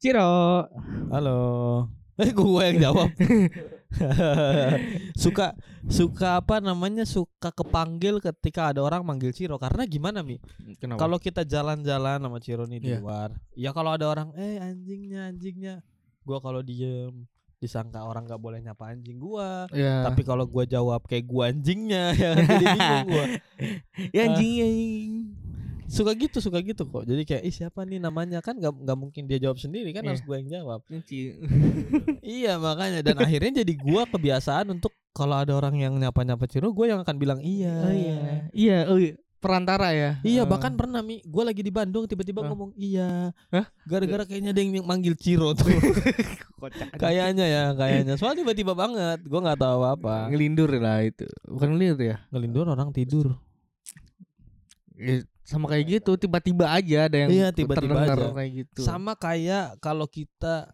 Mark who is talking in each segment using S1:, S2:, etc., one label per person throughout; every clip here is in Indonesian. S1: Ciro.
S2: Halo. Eh gue yang jawab. suka suka apa namanya suka kepanggil ketika ada orang manggil Ciro karena gimana Mi?
S1: Hmm, Kenapa?
S2: Kalau kita jalan-jalan sama Ciro nih di
S1: Iya.
S2: luar, ya kalau ada orang eh anjingnya anjingnya, gua kalau diem disangka orang nggak boleh nyapa anjing gua.
S1: ya.
S2: Tapi kalau gua jawab kayak gua anjingnya ya jadi bingung gua. eh, Ah.
S1: ya anjing ya.
S2: Suka gitu, suka gitu kok. Jadi kayak ih siapa nih namanya kan nggak nggak mungkin dia jawab sendiri kan
S1: Iya.
S2: harus gua yang jawab.
S1: anjing.
S2: Iya makanya dan akhirnya jadi gua kebiasaan untuk kalau ada orang yang nyapa-nyapa Ciro, gua yang akan bilang iya.
S1: Oh iya. Iya, oh iya. perantara ya. Oh.
S2: Iya bahkan pernah Mi, gua lagi di Bandung tiba-tiba
S1: Hah?
S2: ngomong iya.
S1: Hah?
S2: Gara-gara kayaknya ada yang manggil Ciro tuh.
S1: kocak. Kayak
S2: kayaknya ya, kayaknya. Soalnya tiba-tiba banget, gua nggak tahu apa.
S1: ngelindur ya lah itu. Bukan ngelindur ya?
S2: Ngelindur orang tidur.
S1: Ya, sama kayak gitu tiba-tiba aja ada yang
S2: Iya, tiba-tiba
S1: terdengar
S2: aja.
S1: kayak gitu.
S2: Sama kayak kalau kita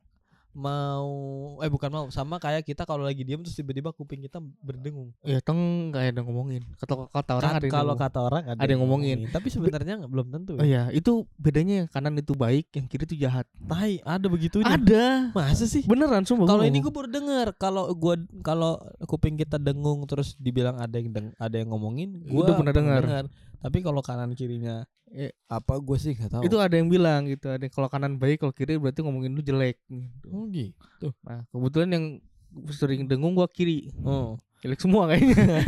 S2: mau eh bukan mau, sama kayak kita kalau lagi diam terus tiba-tiba kuping kita berdengung.
S1: Ya teng nggak ada yang ngomongin. Kata kata orang ada
S2: Kan
S1: yang
S2: kalau
S1: ngomong.
S2: kata orang ada,
S1: Ada yang ngomongin.
S2: tapi sebenarnya nggak- belum tentu. ya.
S1: Oh iya, itu bedanya yang kanan itu baik, yang kiri itu jahat.
S2: Tai, ada begitunya.
S1: Ada.
S2: Masa sih?
S1: Beneran sumpah.
S2: Kalau
S1: gua
S2: ini
S1: ngomong.
S2: gue baru dengar kalau gua kalau kuping kita dengung terus dibilang ada yang deng, ada yang ngomongin, gua
S1: Udah pernah dengar.
S2: Tapi kalau kanan kirinya
S1: Eh,
S2: apa gue sih nggak tahu.
S1: itu ada yang bilang gitu, ada yang kalau kanan baik, kalau kiri berarti ngomongin lu jelek gitu.
S2: Oh, gitu.
S1: Nah, kebetulan yang sering dengung gua kiri.
S2: Oh.
S1: Jelek semua kayaknya.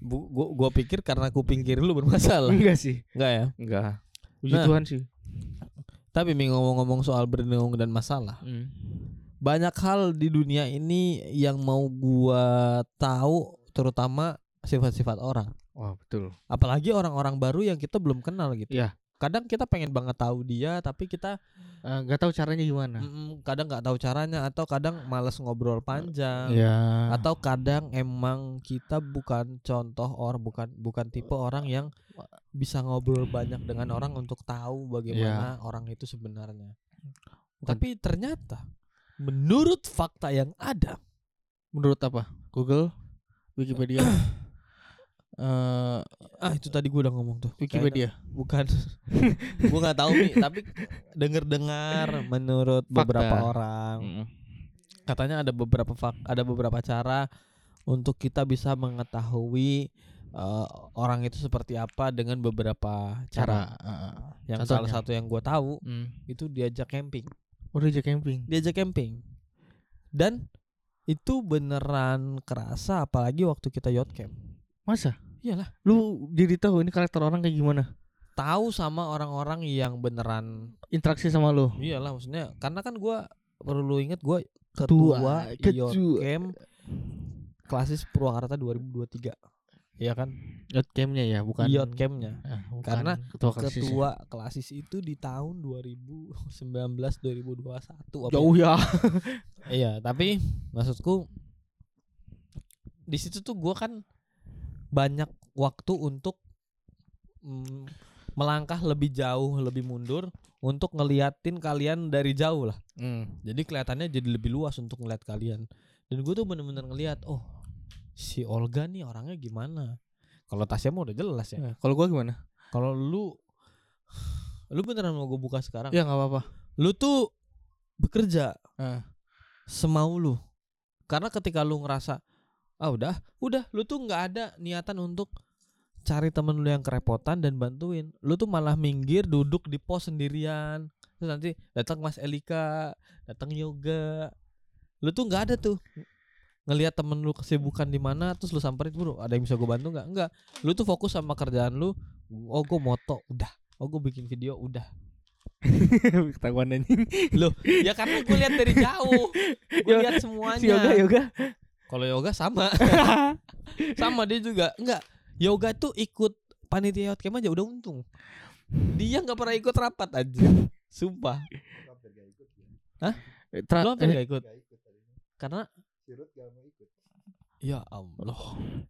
S2: Bu, gua, gua pikir karena kuping kiri lu bermasalah.
S1: Enggak sih.
S2: Enggak ya?
S1: Enggak. Hmm. Puji
S2: Nah.
S1: Tuhan sih.
S2: Tapi Mi, ngomong-ngomong soal berdengung dan masalah.
S1: Hmm.
S2: Banyak hal di dunia ini yang mau gua tahu terutama sifat-sifat orang.
S1: Wah, betul.
S2: Apalagi orang-orang baru yang kita belum kenal gitu.
S1: Iya.
S2: Kadang kita pengen banget tahu dia tapi kita
S1: Enggak Eh, tahu caranya gimana.
S2: Mm-mm, kadang nggak tahu caranya atau kadang malas ngobrol panjang
S1: Ya.
S2: atau kadang emang kita bukan contoh orang bukan bukan tipe orang yang bisa ngobrol banyak dengan orang untuk tahu bagaimana
S1: Iya.
S2: orang itu sebenarnya. Tapi ternyata menurut fakta yang ada
S1: menurut apa? Google, Wikipedia. eh
S2: ah itu tadi gue udah ngomong tuh
S1: Wikipedia.
S2: Kayaknya- bukan gue nggak tahu nih tapi denger dengar menurut
S1: Fakta.
S2: beberapa orang
S1: Hmm.
S2: katanya ada beberapa fak- ada beberapa cara untuk kita bisa mengetahui eh, orang itu seperti apa dengan beberapa
S1: Cara.
S2: cara.
S1: eh,
S2: Yang
S1: Contohnya?
S2: salah satu yang gue tahu
S1: hmm.
S2: itu diajak camping,
S1: Udah aja camping.
S2: diajak camping, dan itu beneran kerasa apalagi waktu kita yacht camp.
S1: Masa?
S2: Iyalah.
S1: Lu jadi tahu ini karakter orang kayak gimana?
S2: Tahu sama orang-orang yang beneran,
S1: Interaksi sama lu.
S2: iyalah maksudnya karena kan gue perlu inget gue
S1: Ketua,
S2: ketua, yacht
S1: ketua.
S2: camp klasis Purwakarta 2023 Iya kan
S1: Yacht campnya ya, bukan.
S2: yacht campnya
S1: Eh, bukan
S2: Karena
S1: ketua kelasnya.
S2: ketua klasis itu di tahun 2019 2021 apa
S1: jauh ya.
S2: ya? iya tapi maksudku di situ tuh gua kan banyak waktu untuk mm, melangkah lebih jauh lebih mundur untuk ngeliatin kalian dari jauh lah
S1: Hmm.
S2: jadi kelihatannya jadi lebih luas untuk ngeliat kalian dan gue tuh bener-bener ngeliat oh si Olga nih orangnya gimana kalau tasnya mah udah jelas ya
S1: Nah, Kalau gua gimana?
S2: kalau lu lu beneran mau gue buka sekarang?
S1: Ya nggak apa-apa.
S2: Lu tuh bekerja
S1: Eh.
S2: semau lu. Karena ketika lu ngerasa ah udah, udah lu tuh nggak ada niatan untuk cari temen lu yang kerepotan dan bantuin. Lu tuh malah minggir duduk di pos sendirian. Terus nanti datang Mas Elika, datang Yoga. Lu tuh nggak ada tuh ngelihat temen lu kesibukan di mana terus lu samperin bro ada yang bisa gue bantu nggak enggak lu tuh fokus sama kerjaan lu oh gue moto udah oh gue bikin video udah
S1: Ketahuan anjing.
S2: ya karena gue lihat dari jauh gue
S1: Yoga-
S2: lihat semuanya
S1: Si yoga yoga.
S2: kalau yoga sama sama dia juga enggak yoga tuh ikut panitia yacht camp aja udah untung dia nggak pernah ikut rapat aja sumpah
S1: Tra-
S2: lo hampir
S1: eh,
S2: nggak ikut karena ya Allah
S1: lu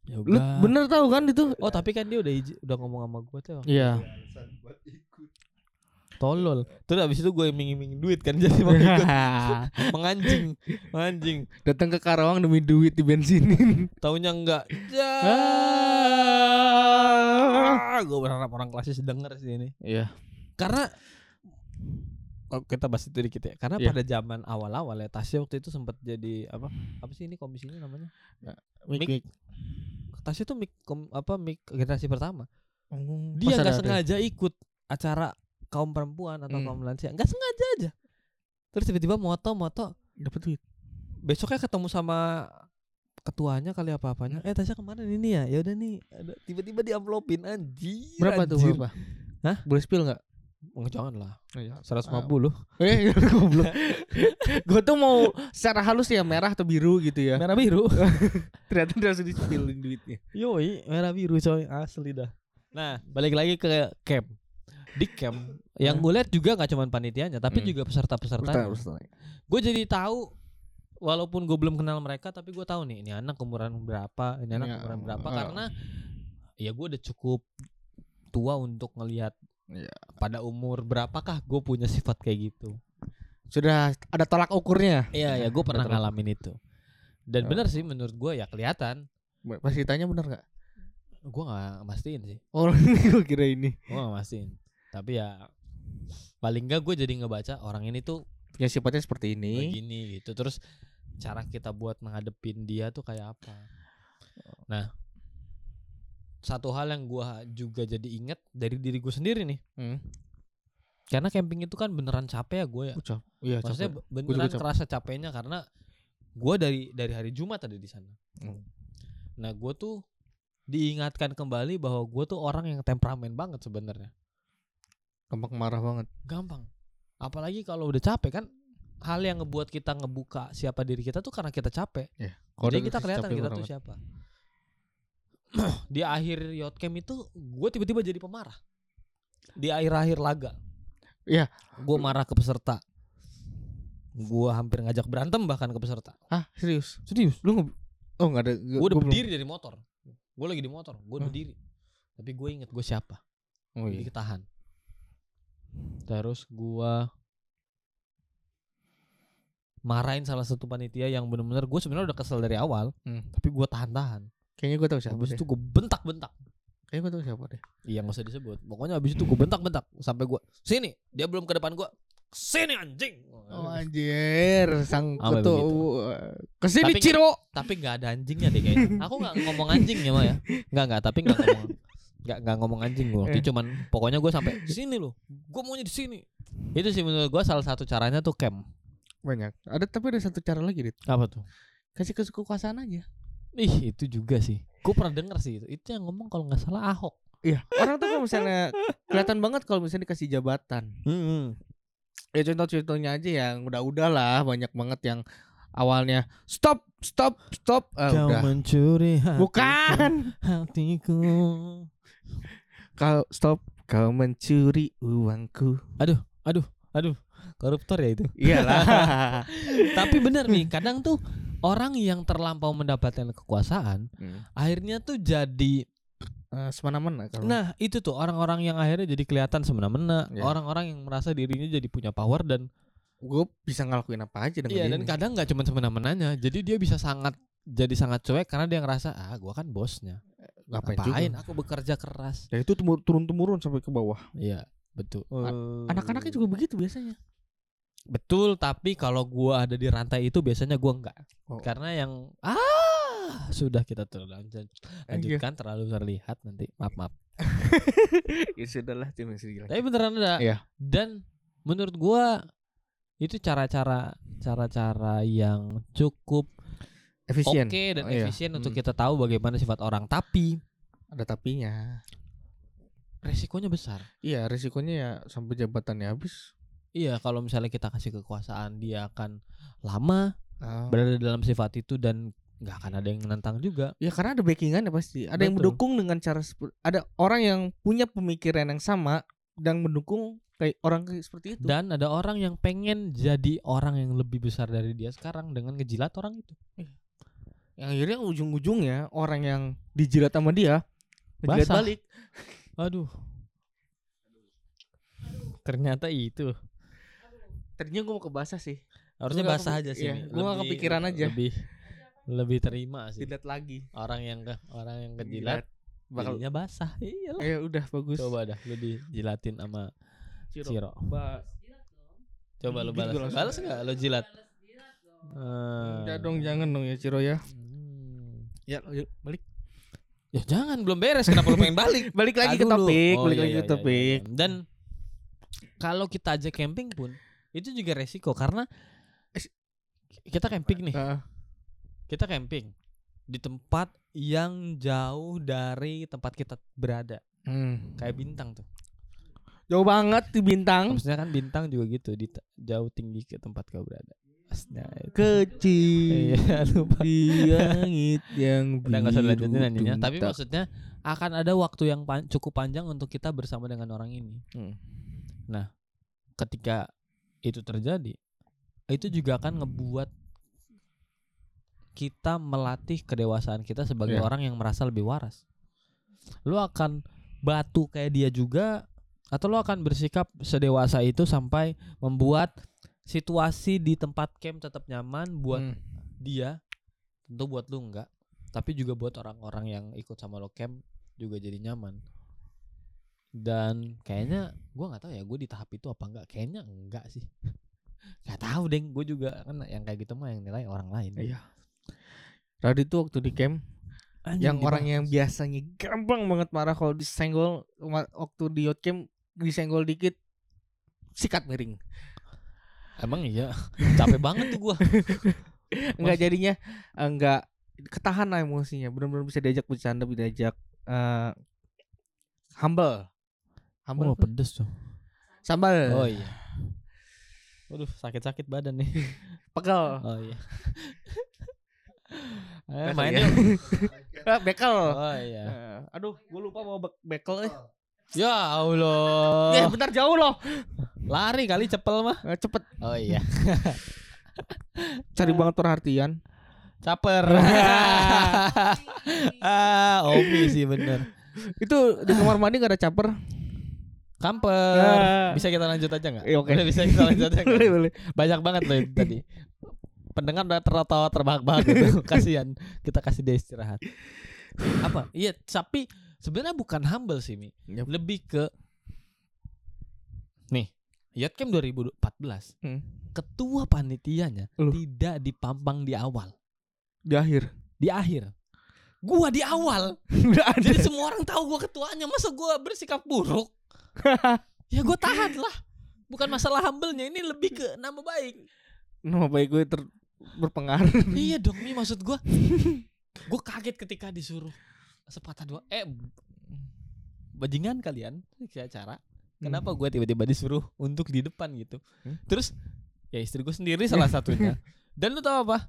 S2: yoga
S1: bener tahu kan itu?
S2: oh tapi kan dia udah iji- udah ngomong sama gue tuh
S1: Iya.
S2: tolol terus abis itu gue iming-iming duit kan jadi mau ikut menganjing menganjing
S1: Datang ke Karawang demi duit di bensinin.
S2: Taunya enggak.
S1: Ah.
S2: gue berharap orang klasis denger sih ini.
S1: Iya.
S2: Karena oh, kita bahas itu dikit ya. Karena
S1: Iya.
S2: pada zaman awal-awal ya Tasya waktu itu sempat jadi apa? Apa sih ini komisinya namanya?
S1: Mik, mik.
S2: Mik. Tasya tuh mic kom- apa mic generasi pertama.
S1: Hmm,
S2: Dia
S1: pas
S2: nggak
S1: ada-
S2: sengaja ikut acara kaum perempuan atau
S1: Hmm.
S2: kaum lansia. Nggak sengaja aja. Terus tiba-tiba moto-moto
S1: Dapat duit.
S2: besoknya ketemu sama ketuanya kali apa-apanya. Eh Tasya kemarin ini ya. Ya udah nih ada- tiba-tiba diamplopin anjir.
S1: Berapa tuh
S2: anjir.
S1: berapa?
S2: Hah?
S1: Boleh spill enggak?
S2: Oh, jangan lah. Ah,
S1: Oh, iya. Eh,
S2: 150.
S1: goblok. Gue tuh mau secara halus ya merah atau biru gitu ya.
S2: Merah biru.
S1: Ternyata udah langsung di-spillin duitnya.
S2: Yoi, merah biru coy, asli dah. Nah, balik lagi ke camp. Di camp yang
S1: Hmm.
S2: gue lihat juga nggak cuman panitianya, tapi
S1: Hmm.
S2: juga peserta-peserta. Gue jadi tahu walaupun gue belum kenal mereka, tapi gue tahu nih ini anak umuran berapa, ini
S1: Ya,
S2: anak umuran berapa
S1: eh.
S2: karena ya gue udah cukup tua untuk ngelihat
S1: Ya.
S2: pada umur berapakah gue punya sifat kayak gitu.
S1: Sudah ada tolak ukurnya.
S2: Iya, ya gue pernah
S1: betul.
S2: ngalamin itu. Dan
S1: Ya.
S2: benar sih menurut gue ya kelihatan.
S1: Pas ditanya benar nggak?
S2: Gue nggak mastiin sih.
S1: Oh, gue kira ini.
S2: gue gak mastiin tapi ya paling enggak gue jadi ngebaca orang ini tuh
S1: Ya sifatnya seperti ini.
S2: begini gitu terus cara kita buat menghadepin dia tuh kayak apa nah satu hal yang gue juga jadi inget dari diri gue sendiri nih
S1: Hmm.
S2: karena camping itu kan beneran capek ya gue ya
S1: Ucap. Iya,
S2: maksudnya
S1: capek.
S2: beneran
S1: juga capek.
S2: kerasa capeknya karena gue dari dari hari Jumat ada di sana
S1: Hmm.
S2: nah gue tuh diingatkan kembali bahwa gue tuh orang yang temperamen banget sebenarnya
S1: gampang marah banget.
S2: gampang apalagi kalau udah capek kan hal yang ngebuat kita ngebuka siapa diri kita tuh karena kita capek
S1: Kalau
S2: jadi kita kelihatan kita tuh siapa di akhir yacht camp itu gue tiba-tiba jadi pemarah di akhir-akhir laga
S1: Iya.
S2: gue marah ke peserta gue hampir ngajak berantem bahkan ke peserta
S1: Ah, serius.
S2: serius
S1: Lu nge Oh, enggak ada.
S2: gue
S1: belum- Hmm.
S2: udah berdiri dari motor gue lagi di motor gue
S1: Hah?
S2: berdiri tapi gue inget gue siapa
S1: Oh
S2: jadi
S1: iya.
S2: ketahan terus gua marahin salah satu panitia yang bener-bener gue sebenarnya udah kesel dari awal
S1: Hmm.
S2: tapi gua tahan-tahan
S1: Kayaknya gue tahu siapa.
S2: habis
S1: deh.
S2: itu gue bentak-bentak
S1: Kayaknya gue tahu siapa deh.
S2: iya nggak usah disebut pokoknya habis itu gue bentak-bentak sampai gua sini dia belum ke depan gua sini anjing
S1: Oh anjir, sang
S2: Sampai
S1: kutu.
S2: begitu.
S1: Kesini
S2: Tapi-
S1: Ciro.
S2: tapi nggak ada anjingnya deh kayaknya aku nggak ngomong anjing ya mah ya nggak nggak tapi nggak ngomong nggak nggak ngomong anjing gue waktu itu cuman pokoknya gue sampai sini loh gue maunya di sini itu sih menurut gue salah satu caranya tuh camp
S1: Banyak. Ada tapi ada satu cara lagi, Dit.
S2: apa tuh
S1: Kasih ke kekuasaan aja.
S2: Ih itu juga sih Gue pernah denger sih itu Itu yang ngomong kalau nggak salah Ahok
S1: Iya, orang tuh kalau misalnya kelihatan banget kalau misalnya dikasih jabatan.
S2: Hmm,
S1: ya contoh-contohnya aja yang udah-udah lah banyak banget yang awalnya stop stop stop Eh,
S2: Kau
S1: udah
S2: mencuri hatiku,
S1: bukan
S2: hatiku
S1: kau stop kau mencuri uangku
S2: Aduh koruptor ya itu
S1: Iya iyalah
S2: Tapi bener nih kadang tuh Orang yang terlampau mendapatkan kekuasaan
S1: Hmm.
S2: Akhirnya tuh jadi
S1: Eh, semena-mena kalau
S2: Nah itu tuh orang-orang yang akhirnya jadi kelihatan semena-mena
S1: Iya.
S2: Orang-orang yang merasa dirinya jadi punya power Dan
S1: gue bisa ngelakuin apa aja dengan
S2: Iya
S1: dia
S2: dan
S1: ini.
S2: kadang nggak cuma semena-menanya Jadi dia bisa sangat jadi sangat cuek karena dia ngerasa ah gua kan bosnya
S1: Eh, ngapain,
S2: ngapain
S1: juga
S2: aku bekerja keras
S1: ya itu tumur- turun-temurun sampai ke bawah Eh,
S2: Iya, betul.
S1: anak-anaknya juga begitu biasanya
S2: betul, tapi kalau gua ada di rantai itu biasanya gua enggak.
S1: Oh.
S2: Karena yang ah sudah kita terlanjut
S1: Anjir.
S2: lanjutkan terlalu terlihat nanti. Maaf, maaf.
S1: ya sudah lah cuma sedikit lagi.
S2: Tapi beneran ada.
S1: Iya.
S2: Dan menurut gua itu cara-cara cara-cara yang cukup oke
S1: efisien
S2: dan
S1: Oh, iya.
S2: efisien untuk
S1: Hmm.
S2: kita tahu bagaimana sifat orang, tapi
S1: ada tapinya
S2: resikonya besar.
S1: iya risikonya ya sampai jabatannya habis
S2: Iya, kalau misalnya kita kasih kekuasaan dia akan lama
S1: Ah.
S2: berada dalam sifat itu dan nggak akan ada yang menentang juga.
S1: Ya karena ada backingannya pasti. Ada yang
S2: Betul.
S1: mendukung dengan cara sepe- ada orang yang punya pemikiran yang sama dan mendukung kayak orang kayak seperti itu.
S2: Dan ada orang yang pengen jadi orang yang lebih besar dari dia sekarang dengan ngejilat orang itu.
S1: yang akhirnya ujung-ujungnya orang yang dijilat sama dia dijilat
S2: Basah.
S1: balik.
S2: Aduh. Ternyata itu.
S1: Tadinya gue mau ke basah sih.
S2: Harusnya
S1: Gua nggak
S2: basah
S1: kepi-
S2: aja sih.
S1: iya,
S2: Mi.
S1: gua nggak
S2: Lebih-
S1: kepikiran aja.
S2: Lebih lebih terima sih.
S1: Jilat lagi.
S2: Orang yang ke orang yang kejilat
S1: Iya. bakal
S2: jadinya basah. Iya,
S1: Iya.
S2: Iyalah.
S1: ya udah bagus.
S2: Coba dah lu dijilatin sama Ciro.
S1: Ba-
S2: Coba lo balas.
S1: Gitu langsung.
S2: balas enggak lo jilat? Eh.
S1: Udah dong jangan dong ya Ciro ya.
S2: Hmm.
S1: Ya yuk, balik.
S2: Ya jangan belum beres kenapa lo pengen balik?
S1: Balik lagi
S2: Aduh,
S1: ke
S2: lu.
S1: topik,
S2: Oh,
S1: balik
S2: iya,
S1: lagi
S2: iya,
S1: ke
S2: iya,
S1: topik.
S2: iya. Dan kalau kita aja camping pun itu juga resiko karena kita camping nih,
S1: Heeh.
S2: kita camping di tempat yang jauh dari tempat kita berada.
S1: Hmm.
S2: Kayak bintang tuh.
S1: Jauh banget di bintang.
S2: Maksudnya kan bintang juga gitu, di jauh tinggi ke tempat kau berada. Maksudnya itu.
S1: Kecil.
S2: Iya, lupa.
S1: Di langit yang
S2: Udah nggak usah
S1: biru
S2: dilanjutin nyanyinya. Tapi
S1: tungtak.
S2: maksudnya akan ada waktu yang pan- cukup panjang untuk kita bersama dengan orang ini.
S1: Hmm.
S2: Nah, ketika itu terjadi, itu juga akan ngebuat kita melatih kedewasaan kita sebagai
S1: Iya.
S2: orang yang merasa lebih waras. Lu akan batu kayak dia juga, atau lu akan bersikap sedewasa itu sampai membuat situasi di tempat camp tetap nyaman buat
S1: Hmm.
S2: dia tentu buat lu enggak tapi juga buat orang-orang yang ikut sama lo camp juga jadi nyaman dan kayaknya gua nggak tahu ya gue di tahap itu apa enggak kayaknya enggak sih nggak tahu deng gue juga kan yang kayak gitu mah yang nilai orang lain
S1: Iya. Radit tuh waktu di camp
S2: Anjing,
S1: yang orang
S2: dibahas.
S1: yang biasanya gampang banget marah kalau disenggol ma- waktu di yacht camp disenggol dikit sikat miring
S2: emang iya capek banget tuh gua
S1: nggak jadinya eh, nggak ketahan lah emosinya benar-benar bisa diajak bercanda bisa diajak eh, humble humble
S2: oh,
S1: apa?
S2: pedes tuh
S1: sambal
S2: oh iya Waduh sakit-sakit badan nih
S1: pekel
S2: Oh iya
S1: Bekel
S2: Eh, main
S1: ya?
S2: yuk.
S1: Ah, bekel
S2: Oh iya
S1: Eh, aduh gue lupa mau be- bekel eh.
S2: Ya Allah
S1: Eh, bentar jauh loh
S2: Lari kali cepel mah.
S1: Eh, cepet
S2: Oh iya.
S1: cari banget perhatian
S2: Caper. ah, Omi sih bener.
S1: itu di kamar mandi gak ada caper
S2: Kamper.
S1: Ya.
S2: Bisa kita lanjut aja nggak?
S1: Eh, oke.
S2: Udah bisa kita lanjut aja. nggak?
S1: boleh boleh
S2: Banyak banget loh itu tadi. Pendengar udah tertawa terbahak-bahak gitu. Kasihan. Kita kasih dia istirahat. Apa? Iya, tapi sebenarnya bukan humble sih, Mi.
S1: Yap.
S2: Lebih ke Nih, Yatkem 2014.
S1: Hmm.
S2: Ketua panitianya
S1: Loh.
S2: tidak dipampang di awal,
S1: di akhir
S2: di akhir. Gua di awal.
S1: udah ada
S2: Jadi semua orang tahu gue ketuanya, masa gue bersikap buruk? ya gue tahan lah. Bukan masalah humble-nya, ini lebih ke nama baik.
S1: nama baik gue ter berpengaruh
S2: iya dong, Mi maksud gue. Gue kaget ketika disuruh sepatah dua. Eh, bajingan kalian, kayak acara. Kenapa gue tiba-tiba disuruh untuk di depan gitu?
S1: Hmm.
S2: Terus ya istri gue sendiri salah satunya. Dan lu tahu apa?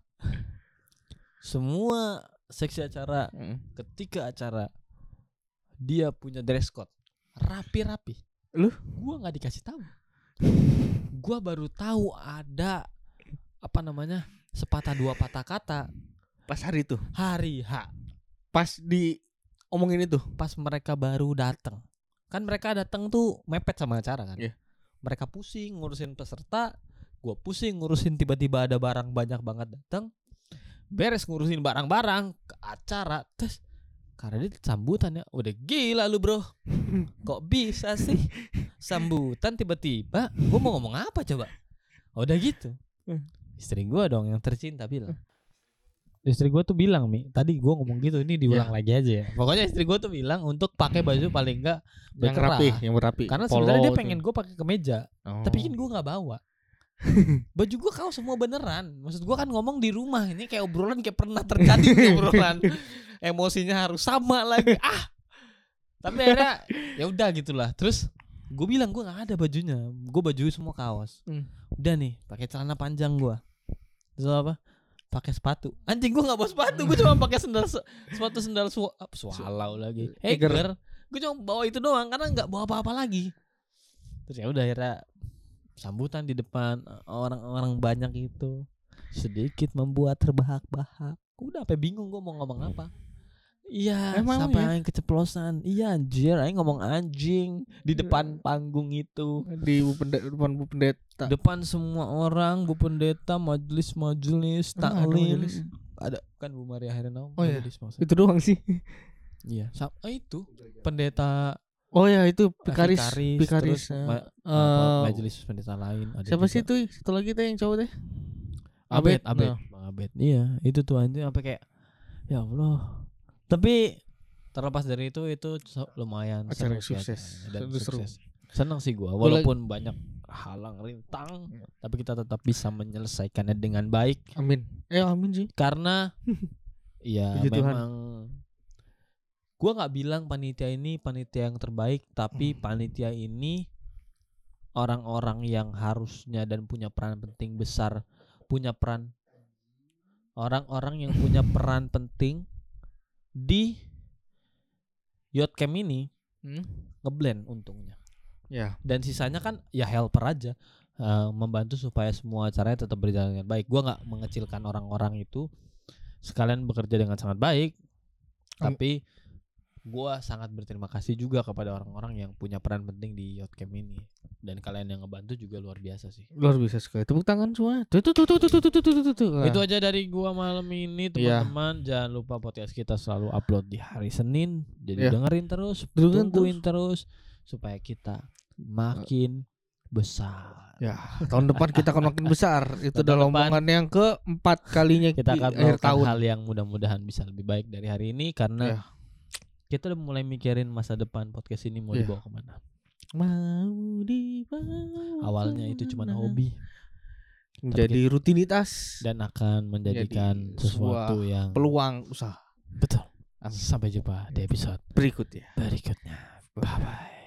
S2: Semua seksi acara
S1: Hmm.
S2: ketika acara dia punya dress code rapi-rapi.
S1: Lu?
S2: Gua nggak dikasih tahu. Gua baru tahu ada apa namanya sepatah dua patah kata
S1: pas hari itu
S2: hari H
S1: pas di omongin itu
S2: pas mereka baru datang. Kan mereka datang tuh mepet sama acara kan.
S1: Iya.
S2: Mereka pusing ngurusin peserta, gua pusing ngurusin tiba-tiba ada barang banyak banget datang. Beres ngurusin barang-barang ke acara, terus karena dia sambutannya udah gila lu bro Kok bisa sih Sambutan tiba-tiba Gue mau ngomong apa coba Udah gitu Istri gua dong yang tercinta bilang Istri gua tuh bilang Mi Tadi gua ngomong gitu Ini diulang lagi aja ya Pokoknya istri gua tuh bilang Untuk pakai baju paling enggak
S1: yang
S2: berkerah.
S1: rapi yang rapi
S2: Karena
S1: Polo
S2: sebenarnya dia
S1: tuh.
S2: pengen gue pakai kemeja
S1: Oh.
S2: Tapi kan gue nggak bawa Baju gua kau semua beneran Maksud gua kan ngomong di rumah Ini kayak obrolan kayak pernah terjadi nih obrolan Emosinya harus sama lagi Ah Tapi akhirnya ya udah gitulah Terus gue bilang gue nggak ada bajunya Gue baju semua kaos
S1: Hmm.
S2: Udah nih pakai celana panjang gua Terus apa? pakai sepatu anjing gua nggak bawa sepatu gue cuma pakai sendal se- sepatu sendal su apa, swallow lagi
S1: Eger.
S2: Eger gue cuma bawa itu doang karena nggak bawa apa-apa lagi terus ya udah akhirnya sambutan di depan e, orang-orang banyak itu sedikit membuat terbahak-bahak udah apa bingung gue mau ngomong apa Iya,
S1: Emang ya?
S2: sampai aing keceplosan. Iya anjir, aing ngomong anjing di
S1: Iya.
S2: depan panggung itu.
S1: di Bu Pende- depan Bu Pendeta
S2: Depan semua orang, Bu Pendeta, majelis-majelis,
S1: Emang ada
S2: taklim.
S1: majelis?
S2: Ada kan Bu Maria Herenow
S1: Oh iya.
S2: majelis maksudnya.
S1: itu doang sih
S2: Iya, sama itu eh, pendeta
S1: Oh ya itu
S2: Eh,
S1: Pikaris,
S2: Vikaris,
S1: Pikaris.
S2: terus
S1: ya.
S2: ma- apa,
S1: Eh,
S2: majelis pendeta lain ada
S1: Siapa
S2: juga.
S1: sih itu? Satu lagi tuh yang cowok deh.
S2: Abed,
S1: Abed,
S2: Abed,
S1: nah.
S2: Bang Abed. Iya, itu tuh anjing sampai kayak ya Allah. Tapi terlepas dari itu itu so- lumayan
S1: Acara yang
S2: seru sih
S1: sukses.
S2: acaranya dan
S1: Seru, seru.
S2: sukses. Senang sih gua
S1: Gua lagi-
S2: walaupun banyak halang rintang,
S1: Iya.
S2: tapi kita tetap bisa menyelesaikannya dengan baik
S1: Amin. Eh amin sih.
S2: karena ya
S1: Puji Tuhan.
S2: memang gua nggak bilang panitia ini panitia yang terbaik,
S1: Hmm.
S2: tapi panitia ini orang-orang yang harusnya dan punya peran penting besar, punya peran orang-orang yang punya peran penting di yacht camp ini
S1: Hmm?
S2: ngeblend untungnya.
S1: Ya.
S2: Dan sisanya kan ya helper aja eh, membantu supaya semua acaranya tetap berjalan dengan baik. Gua nggak mengecilkan orang-orang itu. Sekalian bekerja dengan sangat baik.
S1: Am-
S2: Tapi gua sangat berterima kasih juga kepada orang-orang yang punya peran penting di yacht camp ini. Dan kalian yang ngebantu juga luar biasa sih.
S1: Luar biasa sekali. Tepuk tangan semua. Tuh tuh tuh tuh tuh tuh tuh tuh tuh, tuh. Nah,
S2: Itu aja dari gua malam ini
S1: Iya.
S2: teman-teman. Jangan lupa podcast kita selalu upload di hari Senin. Jadi
S1: Iya.
S2: dengerin terus,
S1: Dengerin
S2: tungguin terus. supaya kita makin besar.
S1: Ya, tahun depan kita akan makin besar. Itu
S2: Tahun
S1: udah
S2: depan.
S1: longongan yang keempat kalinya
S2: Kita
S1: di
S2: akan
S1: akhir
S2: melakukan
S1: tahun.
S2: hal yang mudah-mudahan bisa lebih baik dari hari ini karena
S1: Iya.
S2: kita udah mulai mikirin masa depan podcast ini mau
S1: Iya.
S2: dibawa kemana.
S1: Mau dibawa
S2: Awalnya itu cuma
S1: kemana?
S2: hobi
S1: menjadi rutinitas dan
S2: dan akan menjadikan
S1: Jadi
S2: sesuatu yang
S1: peluang usaha
S2: betul.
S1: Amin.
S2: Sampai jumpa di episode
S1: berikutnya.
S2: berikutnya. Bye bye.